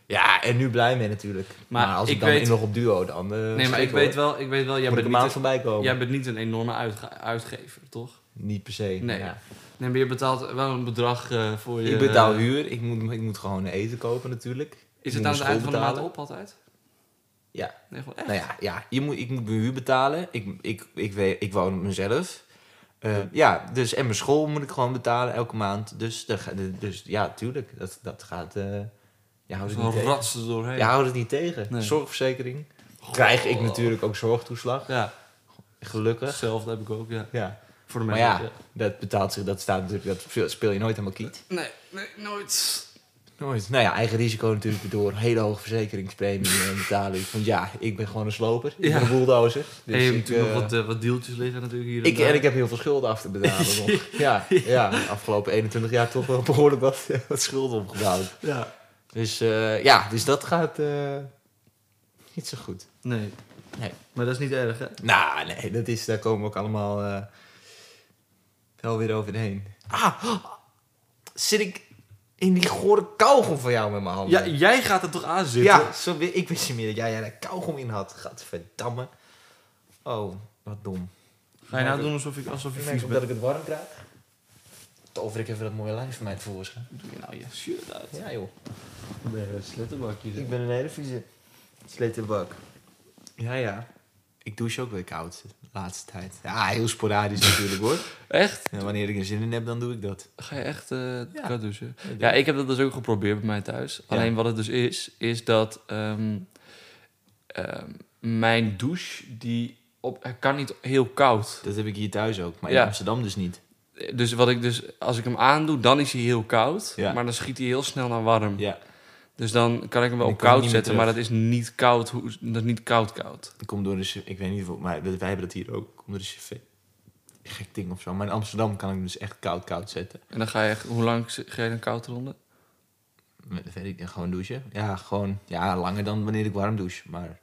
Speaker 3: Ja, en nu blij mee natuurlijk. Maar,
Speaker 2: Maar
Speaker 3: als ik,
Speaker 2: ik
Speaker 3: dan
Speaker 2: weet-
Speaker 3: in nog op duo, dan... eh,
Speaker 2: Nee, maar
Speaker 3: schrik,
Speaker 2: ik
Speaker 3: hoor.
Speaker 2: weet wel, ik weet wel
Speaker 3: Moet
Speaker 2: jij,
Speaker 3: ik
Speaker 2: bent
Speaker 3: een
Speaker 2: niet
Speaker 3: maand
Speaker 2: een,
Speaker 3: voorbij komen?
Speaker 2: jij bent niet een enorme uitge- uitgever, toch?
Speaker 3: Niet per se.
Speaker 2: Nee.
Speaker 3: ja.
Speaker 2: Nee, maar je betaalt wel een bedrag eh, voor je...
Speaker 3: Ik betaal huur. Ik moet, ik moet gewoon eten kopen natuurlijk. Ik moet
Speaker 2: Is het aan
Speaker 3: mijn
Speaker 2: het
Speaker 3: school
Speaker 2: eind van de maand
Speaker 3: betalen.
Speaker 2: op altijd?
Speaker 3: Ja.
Speaker 2: Nee, gewoon echt?
Speaker 3: Nou ja, ja je moet, ik moet mijn huur betalen. Ik, ik, ik, weet, ik woon op mezelf. Eh, ja, dus en mijn school moet ik gewoon betalen elke maand. Dus, daar ga- dus ja, tuurlijk. Dat, dat gaat. eh je houdt het niet
Speaker 2: Dan
Speaker 3: tegen.
Speaker 2: ratst er doorheen.
Speaker 3: Je houdt het niet tegen.
Speaker 2: Nee.
Speaker 3: Zorgverzekering. Krijg ik natuurlijk ook zorgtoeslag.
Speaker 2: Ja,
Speaker 3: Gelukkig.
Speaker 2: hetzelfde heb ik ook, ja.
Speaker 3: Ja.
Speaker 2: Voor de
Speaker 3: Maar
Speaker 2: mensen,
Speaker 3: ja, dat betaalt zich. Dat staat natuurlijk. Dat speel je nooit helemaal kiet.
Speaker 2: Nee, nee, nooit.
Speaker 3: Nooit. Nou ja, eigen risico natuurlijk door hele hoge verzekeringspremie eh, betalen. Want ja, ik ben gewoon een sloper. Ik
Speaker 2: Ja.
Speaker 3: ben een bulldozer.
Speaker 2: en je hebt
Speaker 3: ik,
Speaker 2: natuurlijk
Speaker 3: eh,
Speaker 2: nog wat, eh, wat deeltjes liggen natuurlijk hier en
Speaker 3: ik,
Speaker 2: daar.
Speaker 3: en ik heb heel veel schulden af te betalen
Speaker 2: (laughs)
Speaker 3: nog. Ja, ja, afgelopen 21 jaar toch wel behoorlijk wat, (laughs) wat schulden opgebouwd.
Speaker 2: Ja.
Speaker 3: Dus eh, ja, dus dat gaat eh, niet zo goed.
Speaker 2: Nee.
Speaker 3: Nee.
Speaker 2: Maar dat is niet erg, hè?
Speaker 3: Nou, nee, dat is, daar komen we ook allemaal eh, wel weer overheen. Ah, zit ik in die gore kauwgom van jou met mijn handen?
Speaker 2: Ja, jij gaat er toch aan zitten?
Speaker 3: Ja, zo, wi- ik wist niet meer dat jij daar kauwgom in had. Gadverdamme. Oh, wat dom.
Speaker 2: Ga je nou doen alsof, ik, alsof je
Speaker 3: Ik merk
Speaker 2: vies
Speaker 3: ook dat
Speaker 2: bent?
Speaker 3: ik het warm krijg. Tover ik even dat mooie lijf van mij tevoorschijn.
Speaker 2: Doe je nou je shirt uit?
Speaker 3: Ja joh,
Speaker 2: Nee, slettenbakje.
Speaker 3: ik ben een hele vieze sletenbak. Ja ja. Ik douche ook weer koud de laatste tijd. Ja, heel sporadisch (laughs) natuurlijk hoor.
Speaker 2: Echt?
Speaker 3: En wanneer ik er zin in heb, dan doe ik dat.
Speaker 2: Ga je echt eh
Speaker 3: Ja.
Speaker 2: koud douchen? Ja, ik heb dat dus ook geprobeerd bij mij thuis. Alleen wat het dus is, is dat ehm, ehm, mijn douche, die op, hij kan niet heel koud.
Speaker 3: Dat heb ik hier thuis ook, maar in
Speaker 2: Ja.
Speaker 3: Amsterdam dus niet.
Speaker 2: Dus wat ik dus, als ik hem aandoe, dan is hij heel koud.
Speaker 3: Ja.
Speaker 2: Maar dan schiet hij heel snel naar warm.
Speaker 3: Ja,
Speaker 2: Dus dan kan ik hem wel
Speaker 3: Die
Speaker 2: op
Speaker 3: komt
Speaker 2: koud
Speaker 3: niet meer
Speaker 2: zetten, maar dat is niet koud. hoe- Dat is niet koud koud.
Speaker 3: dat komt door de... chau- Ik weet niet of... Maar wij hebben dat hier ook. Komt door de chauffeur. Gek ding of zo. Maar in Amsterdam kan ik hem dus echt koud koud zetten.
Speaker 2: En dan ga je, hoe lang z- ga je dan koud ronden?
Speaker 3: Dat weet ik. Gewoon douchen. Ja, gewoon... Ja, langer dan wanneer ik warm douche. Maar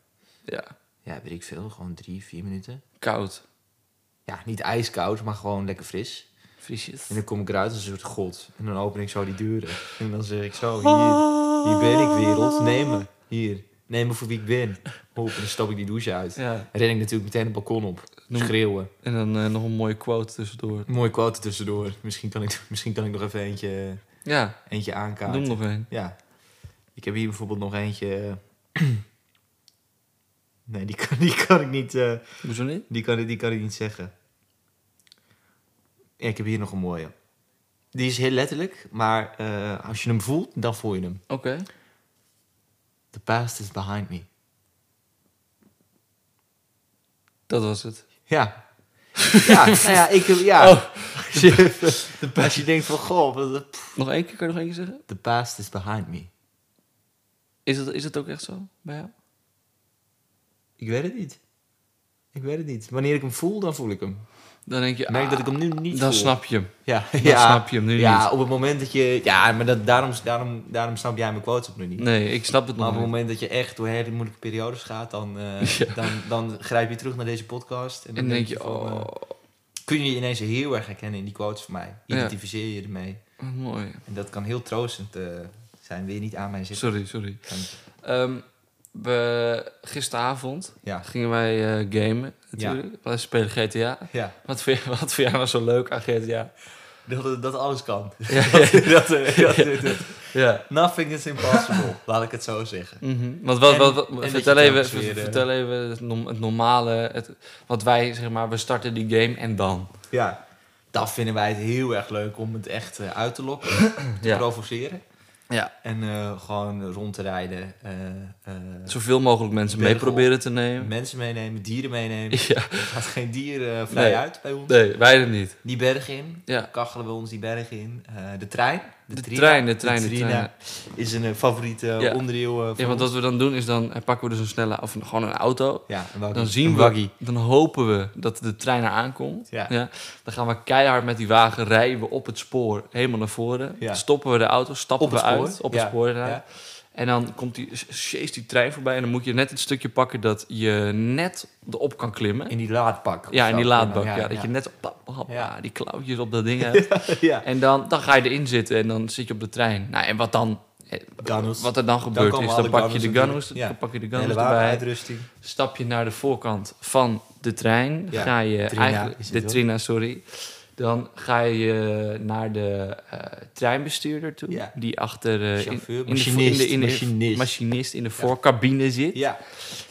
Speaker 2: Ja,
Speaker 3: ja, weet ik veel. Gewoon drie, vier minuten.
Speaker 2: koud.
Speaker 3: Ja, niet ijskoud, maar gewoon lekker fris.
Speaker 2: Visjes.
Speaker 3: En dan kom ik eruit als een soort god. En dan open ik zo die deuren. En dan zeg ik zo, hier, hier ben ik wereld. Neem me. Hier. Neem me voor wie ik ben. Hop, en dan stap ik die douche uit.
Speaker 2: Ja,
Speaker 3: En ren ik natuurlijk meteen het balkon op.
Speaker 2: Noem-
Speaker 3: Schreeuwen.
Speaker 2: en dan eh, nog een mooie quote tussendoor.
Speaker 3: Mooie quote tussendoor. Misschien kan ik, (laughs) misschien kan ik nog even eentje,
Speaker 2: Ja,
Speaker 3: eentje aankaarten.
Speaker 2: doe hem nog een.
Speaker 3: Ja. Ik heb hier bijvoorbeeld nog eentje... eh, (clears throat) Nee, die kan, (laughs) die kan ik niet... eh,
Speaker 2: Hoezo niet?
Speaker 3: Die kan, ik- die kan ik niet zeggen. Ja, ik heb hier nog een mooie. Die is heel letterlijk, maar eh, als je hem voelt, dan voel je hem.
Speaker 2: Oké.
Speaker 3: The past is behind me.
Speaker 2: Dat was het. (laughs)
Speaker 3: Ja. ja, nou ja, ik heb... Ja.
Speaker 2: Oh,
Speaker 3: Als, je, (laughs) als je denkt van, goh, wat-
Speaker 2: Nog één keer, kan je nog één keer zeggen?
Speaker 3: the past is behind me.
Speaker 2: Is dat, is dat ook echt zo bij jou?
Speaker 3: Ik weet het niet. Ik weet het niet. Wanneer ik hem voel, dan voel ik hem.
Speaker 2: Dan denk je,
Speaker 3: Ik merk
Speaker 2: ah,
Speaker 3: dat ik hem nu niet
Speaker 2: dan
Speaker 3: voel.
Speaker 2: snap je hem.
Speaker 3: ja,
Speaker 2: Dan
Speaker 3: ja,
Speaker 2: snap je hem nu
Speaker 3: ja,
Speaker 2: niet.
Speaker 3: op het moment dat je... Ja, maar dat, daarom, daarom, daarom snap jij mijn quotes op nu niet.
Speaker 2: Nee, ik snap het
Speaker 3: Maar op
Speaker 2: nog
Speaker 3: het
Speaker 2: niet.
Speaker 3: moment dat je echt door hele moeilijke periodes gaat, dan, eh,
Speaker 2: (laughs) Ja.
Speaker 3: dan, dan grijp je terug naar deze podcast. En
Speaker 2: En
Speaker 3: dan
Speaker 2: dan denk je,
Speaker 3: van,
Speaker 2: oh,
Speaker 3: eh, kun je je ineens heel erg herkennen in die quotes van mij.
Speaker 2: Ja.
Speaker 3: Identificeer je ermee.
Speaker 2: wat mooi.
Speaker 3: En dat kan heel troostend eh, zijn. Wil je niet aan mij zitten?
Speaker 2: Sorry, sorry.
Speaker 3: Kan-
Speaker 2: Ehm, we, gisteravond
Speaker 3: Ja.
Speaker 2: gingen wij eh, gamen natuurlijk. Wij spelen GTA.
Speaker 3: Ja, (laughs)
Speaker 2: Wat vind, jij- (laughs) wat vind jij nou zo leuk aan GTA?
Speaker 3: dat, dat alles kan.
Speaker 2: Ja.
Speaker 3: dat, (laughs) dat, eh, (laughs) dat- dat-
Speaker 2: Ja.
Speaker 3: nothing is impossible, laat ik het zo zeggen.
Speaker 2: Mhm. Want wat,
Speaker 3: En-
Speaker 2: wat, wat-
Speaker 3: en dat
Speaker 2: vertel,
Speaker 3: je
Speaker 2: even,
Speaker 3: telkens weer, eh,
Speaker 2: vertel even het, nom- het normale, het, wat wij zeg maar, we starten die game en dan.
Speaker 3: Ja, dan vinden wij het heel erg leuk om het echt eh, uit te
Speaker 2: (clears throat)
Speaker 3: lokken, te
Speaker 2: Ja.
Speaker 3: provoceren.
Speaker 2: Ja.
Speaker 3: En eh, gewoon rond te rijden. eh, eh,
Speaker 2: Zoveel mogelijk mensen mee
Speaker 3: Bergen op.
Speaker 2: proberen te nemen.
Speaker 3: Mensen meenemen, dieren meenemen.
Speaker 2: Ja,
Speaker 3: Er gaat geen dier eh, vrij
Speaker 2: Nee.
Speaker 3: uit bij ons.
Speaker 2: nee, wij er niet.
Speaker 3: Die berg in.
Speaker 2: Ja.
Speaker 3: Kachelen we ons die berg in. Eh, de trein.
Speaker 2: De
Speaker 3: Trina.
Speaker 2: trein, de trein, de
Speaker 3: Trina
Speaker 2: trein.
Speaker 3: Is een eh, favoriete eh,
Speaker 2: Ja.
Speaker 3: onderdeel eh, van
Speaker 2: Ja, want
Speaker 3: ons.
Speaker 2: wat we dan doen is dan eh, pakken we dus een snelle, of een- gewoon een auto.
Speaker 3: Ja, een waggie.
Speaker 2: Dan zien
Speaker 3: Een
Speaker 2: we,
Speaker 3: waggie.
Speaker 2: dan hopen we dat de trein er aankomt.
Speaker 3: Ja.
Speaker 2: Dan gaan we keihard met die wagen rijden we op het spoor helemaal naar voren.
Speaker 3: Ja.
Speaker 2: Stoppen we de auto, stappen
Speaker 3: Op het
Speaker 2: we
Speaker 3: spoor.
Speaker 2: uit op
Speaker 3: Ja.
Speaker 2: het spoor. inderdaad.
Speaker 3: Ja.
Speaker 2: En dan komt die, chase die trein voorbij en dan moet je net het stukje pakken dat je net erop kan klimmen.
Speaker 3: In die laadpak. of
Speaker 2: ja, in
Speaker 3: zo.
Speaker 2: die laadbak. Ja,
Speaker 3: ja,
Speaker 2: Dat je net op, pap, hap,
Speaker 3: Ja.
Speaker 2: ah, die klauwtjes op dat ding hebt.
Speaker 3: (laughs) ja.
Speaker 2: En dan, dan ga je erin zitten en dan zit je op de trein. Nou, en wat dan? eh,
Speaker 3: Gunnels.
Speaker 2: Wat er dan gebeurt
Speaker 3: komen
Speaker 2: is,
Speaker 3: alle
Speaker 2: dan pak je
Speaker 3: gunnels
Speaker 2: de gunnels,
Speaker 3: natuurlijk.
Speaker 2: dan pak je de
Speaker 3: Hele
Speaker 2: gunnels
Speaker 3: wapen,
Speaker 2: erbij
Speaker 3: uitrusting.
Speaker 2: stap je naar de voorkant van de trein.
Speaker 3: Ja,
Speaker 2: ga je
Speaker 3: Trina is
Speaker 2: eigenlijk,
Speaker 3: het
Speaker 2: de
Speaker 3: wel.
Speaker 2: Trina, sorry. Dan ga je naar de eh, treinbestuurder toe,
Speaker 3: Ja.
Speaker 2: die achter eh, in-
Speaker 3: Chauffeur,
Speaker 2: in,
Speaker 3: machinist,
Speaker 2: de, vo- in de, in de
Speaker 3: machinist.
Speaker 2: machinist in de voorkabine zit.
Speaker 3: Ja,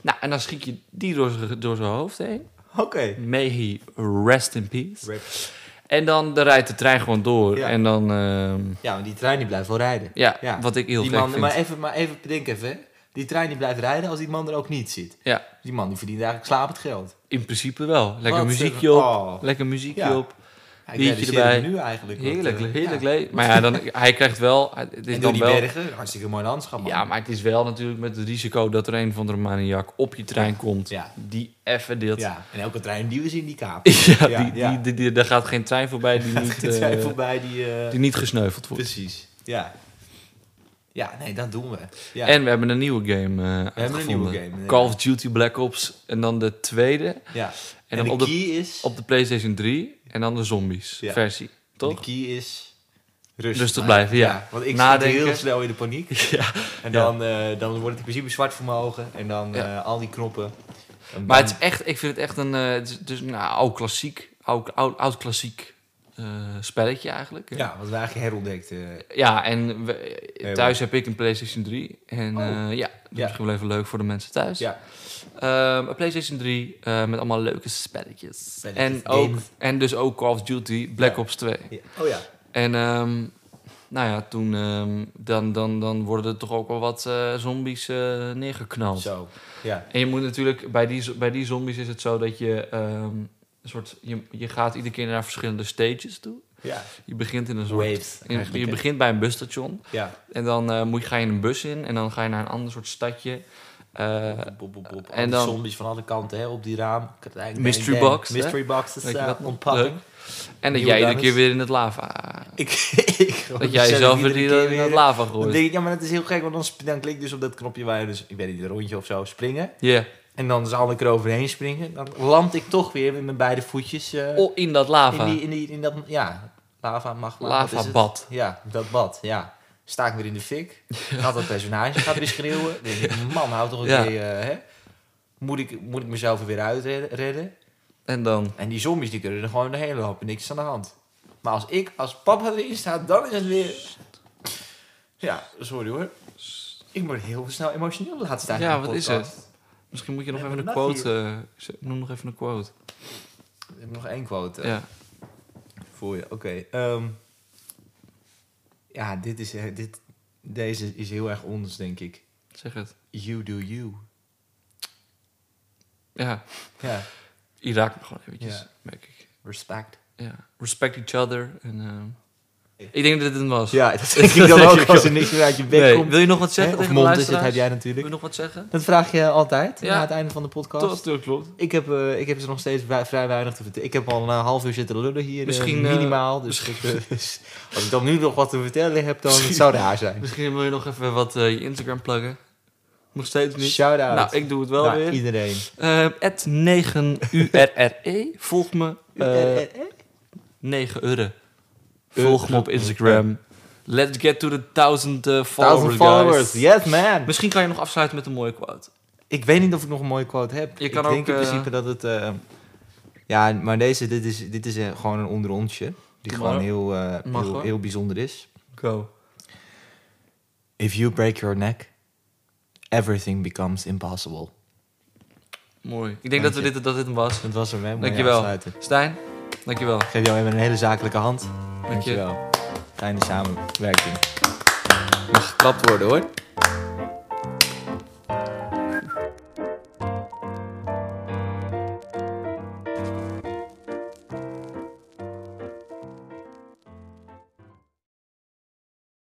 Speaker 2: Nou, en dan schiet je die door z'n- door zijn hoofd heen.
Speaker 3: oké.
Speaker 2: May he rest in peace.
Speaker 3: Rap.
Speaker 2: En dan, dan rijdt de trein gewoon door.
Speaker 3: Ja.
Speaker 2: En dan, ehm,
Speaker 3: Ja, want die trein die blijft wel rijden.
Speaker 2: ja,
Speaker 3: Ja.
Speaker 2: wat ik heel
Speaker 3: die
Speaker 2: gek
Speaker 3: man,
Speaker 2: vind.
Speaker 3: maar even, maar even, denk even. hè. Die trein die blijft rijden als die man er ook niet zit.
Speaker 2: Ja,
Speaker 3: Die man die verdient eigenlijk slapend geld.
Speaker 2: in principe wel. Lekker
Speaker 3: Wat
Speaker 2: muziekje
Speaker 3: zeg-
Speaker 2: op.
Speaker 3: oh.
Speaker 2: Lekker muziekje
Speaker 3: Ja.
Speaker 2: op.
Speaker 3: Ja,
Speaker 2: Biertje
Speaker 3: realiseer
Speaker 2: erbij.
Speaker 3: me nu eigenlijk. wat,
Speaker 2: Heerlijk,
Speaker 3: eh,
Speaker 2: heerlijk
Speaker 3: ja.
Speaker 2: leuk. Maar ja, dan, hij krijgt wel... Het is
Speaker 3: En door
Speaker 2: dan
Speaker 3: die
Speaker 2: wel
Speaker 3: bergen, hartstikke mooi landschap. man.
Speaker 2: ja, maar het is wel natuurlijk met het risico dat er een van de maniak op je trein komt.
Speaker 3: Ja.
Speaker 2: Die even dit... (laughs) Ja,
Speaker 3: Ja, en elke trein die we zien, die
Speaker 2: (laughs)
Speaker 3: kaap. Ja,
Speaker 2: die,
Speaker 3: ja.
Speaker 2: Die, die, die- daar gaat geen trein voorbij die,
Speaker 3: (laughs)
Speaker 2: niet,
Speaker 3: Die trein
Speaker 2: eh,
Speaker 3: voorbij Dus, die... eh,
Speaker 2: die niet gesneuveld wordt.
Speaker 3: Precies, ja. Ja, nee, dat doen we. Ja.
Speaker 2: En we hebben een nieuwe game eh
Speaker 3: een
Speaker 2: uitgevonden.
Speaker 3: nieuwe game, ja.
Speaker 2: Call of Duty Black Ops en dan de tweede. En,
Speaker 3: ja. en,
Speaker 2: dan
Speaker 3: de
Speaker 2: op
Speaker 3: key
Speaker 2: de,
Speaker 3: is...
Speaker 2: op de Playstation 3 en dan de zombies
Speaker 3: Ja.
Speaker 2: versie.
Speaker 3: De
Speaker 2: Toch?
Speaker 3: key is... Rustig,
Speaker 2: Rustig blijven, ja.
Speaker 3: Want ik
Speaker 2: Nadenken.
Speaker 3: zit heel snel in de paniek.
Speaker 2: (laughs) Ja.
Speaker 3: En dan, eh, dan wordt het in principe zwart voor mijn ogen. En dan
Speaker 2: Ja.
Speaker 3: eh, al die knoppen. En
Speaker 2: Maar
Speaker 3: dan-
Speaker 2: het is echt, ik vind het echt een, eh, het is dus, nou, oud klassiek, oud, oud, oud klassiek eh, spelletje eigenlijk. hè.
Speaker 3: Ja, wat we eigenlijk herontdekt. eh,
Speaker 2: Ja, en we-
Speaker 3: Eh,
Speaker 2: thuis heb ik een PlayStation 3. En
Speaker 3: Oh.
Speaker 2: eh, ja, dat is
Speaker 3: Ja.
Speaker 2: misschien wel even leuk voor de mensen thuis.
Speaker 3: ja,
Speaker 2: Ehm, een PlayStation 3 eh, met allemaal leuke spelletjes.
Speaker 3: Spelletjes,
Speaker 2: En, ook,
Speaker 3: games.
Speaker 2: en dus ook Call of Duty Black
Speaker 3: Ja.
Speaker 2: Ops 2.
Speaker 3: ja. Oh ja.
Speaker 2: En ehm, Nou ja, toen ehm, dan, dan, dan worden er toch ook wel wat eh, zombies eh, neergeknald.
Speaker 3: Zo. Ja.
Speaker 2: En je moet natuurlijk, bij die, zo- bij die zombies is het zo dat je ehm, een soort, je, je gaat iedere keer naar verschillende stages toe.
Speaker 3: Ja.
Speaker 2: Je begint in een soort.
Speaker 3: Waves.
Speaker 2: in- je
Speaker 3: eigenlijk, hè.
Speaker 2: begint bij een busstation.
Speaker 3: Ja.
Speaker 2: En dan eh, moet je, ga je in een bus in en dan ga je naar een ander soort stadje. Eh,
Speaker 3: Boep, boep, boep.
Speaker 2: en
Speaker 3: En
Speaker 2: dan-
Speaker 3: dan zombies van alle kanten hè, op die raam. Krijg-
Speaker 2: Mystery
Speaker 3: dang, dang.
Speaker 2: box, hè?
Speaker 3: Mystery boxes
Speaker 2: weet je
Speaker 3: eh,
Speaker 2: wat? Leuk.
Speaker 3: ontpakken.
Speaker 2: En dat
Speaker 3: Nieuwe
Speaker 2: jij iedere
Speaker 3: dames.
Speaker 2: keer weer in het
Speaker 3: (laughs)
Speaker 2: lava.
Speaker 3: Ik, ik gewoon
Speaker 2: Dat jij
Speaker 3: zelf
Speaker 2: jezelf
Speaker 3: iedere
Speaker 2: weer in
Speaker 3: keer
Speaker 2: dat- in dat lava gooit.
Speaker 3: Dan
Speaker 2: Ja.
Speaker 3: denk ik, ja, maar dat is heel gek, want dan, sp- dan klik ik dus op dat knopje waar je dus, ik weet niet, een rondje of zo, springen. En dan zal ik er overheen springen. Dan land ik toch weer met mijn beide voetjes eh,
Speaker 2: Oh, in dat lava.
Speaker 3: in, die, in, die, in dat, ja, lava, magma. wat is het?
Speaker 2: Lavabad.
Speaker 3: Ja, dat bad, ja. Sta ik weer in de fik. Gaat dat personage, gaat weer schreeuwen.
Speaker 2: (laughs)
Speaker 3: Dan Denk ik, man, hou toch een
Speaker 2: Ja.
Speaker 3: keer, eh, hè? Moet ik, moet ik mezelf er weer uitredden? redden?
Speaker 2: En dan.
Speaker 3: En die zombies die kunnen er gewoon de hele hoop en niks is aan de hand. Maar als ik, als papa erin staat, dan is het weer... Ja, sorry hoor. Ik word heel snel emotioneel de laatste tijd.
Speaker 2: Ja,
Speaker 3: in de
Speaker 2: wat is
Speaker 3: podcast.
Speaker 2: Misschien moet je nog
Speaker 3: Ja,
Speaker 2: even een
Speaker 3: wat mag
Speaker 2: quote. eh, z- noem nog even een quote.
Speaker 3: Ik heb nog één quote eh,
Speaker 2: Ja.
Speaker 3: voor je. Oké. ehm, ja, dit is, eh, dit, deze is heel erg ons, denk ik.
Speaker 2: Zeg het.
Speaker 3: You do you.
Speaker 2: Ja.
Speaker 3: Ja,
Speaker 2: Je raakt me gewoon eventjes,
Speaker 3: Ja.
Speaker 2: merk ik.
Speaker 3: respect.
Speaker 2: Ja. Respect each other. En, ehm, Ik denk dat dit het was.
Speaker 3: Ja, (laughs) dat denk ik dan ook als er niks meer uit je bek
Speaker 2: Nee,
Speaker 3: komt.
Speaker 2: Wil je nog wat zeggen
Speaker 3: Hè, Of
Speaker 2: tegen de
Speaker 3: mond is het,
Speaker 2: luisteraars?
Speaker 3: heb jij
Speaker 2: Wil je
Speaker 3: natuurlijk.
Speaker 2: nog wat zeggen?
Speaker 3: Dat vraag je altijd,
Speaker 2: Ja.
Speaker 3: na het einde van de podcast.
Speaker 2: Dat dat klopt.
Speaker 3: Ik heb, eh, ik heb ze nog steeds bij- vrij weinig te vertellen. Ik heb al een half uur zitten lullen hier, eh,
Speaker 2: Misschien, eh,
Speaker 3: minimaal. dus ik, eh, (laughs) dus als ik dan nu nog wat te vertellen heb, dan het zou raar zijn.
Speaker 2: Misschien wil je nog even wat eh, je Instagram pluggen. Nog steeds niet.
Speaker 3: Shout-out
Speaker 2: Nou, ik doe het wel
Speaker 3: naar
Speaker 2: weer.
Speaker 3: iedereen.
Speaker 2: Eh, At 9URRE. E. Volg me. eh,
Speaker 3: Eh, eh, eh.
Speaker 2: 9 euro.
Speaker 3: E.
Speaker 2: Volg me op Instagram. Let's get to the 1000 eh, followers,
Speaker 3: Thousand followers,
Speaker 2: guys.
Speaker 3: yes man!
Speaker 2: Misschien kan je nog afsluiten met een mooie quote.
Speaker 3: Ik weet niet of ik nog een mooie quote heb.
Speaker 2: Je kan
Speaker 3: ik denk
Speaker 2: ook,
Speaker 3: in
Speaker 2: eh,
Speaker 3: principe dat het... eh, ja, maar deze, dit is, dit is eh, gewoon een onderontje. Die
Speaker 2: Doe
Speaker 3: gewoon
Speaker 2: maar.
Speaker 3: heel, eh,
Speaker 2: Mag,
Speaker 3: heel,
Speaker 2: hoor.
Speaker 3: heel bijzonder is.
Speaker 2: Go.
Speaker 3: If you break your neck, everything becomes impossible.
Speaker 2: Mooi. Ik denk
Speaker 3: Dank
Speaker 2: dat, we
Speaker 3: je.
Speaker 2: dit, dat dit hem was.
Speaker 3: Dat was hem, hè? Mooie
Speaker 2: Dankjewel.
Speaker 3: afsluiter.
Speaker 2: Stijn, dankjewel.
Speaker 3: Ik geef jou even een hele zakelijke hand.
Speaker 2: Dank je.
Speaker 3: Dankjewel. Fijne samenwerking. Mag geklapt worden hoor.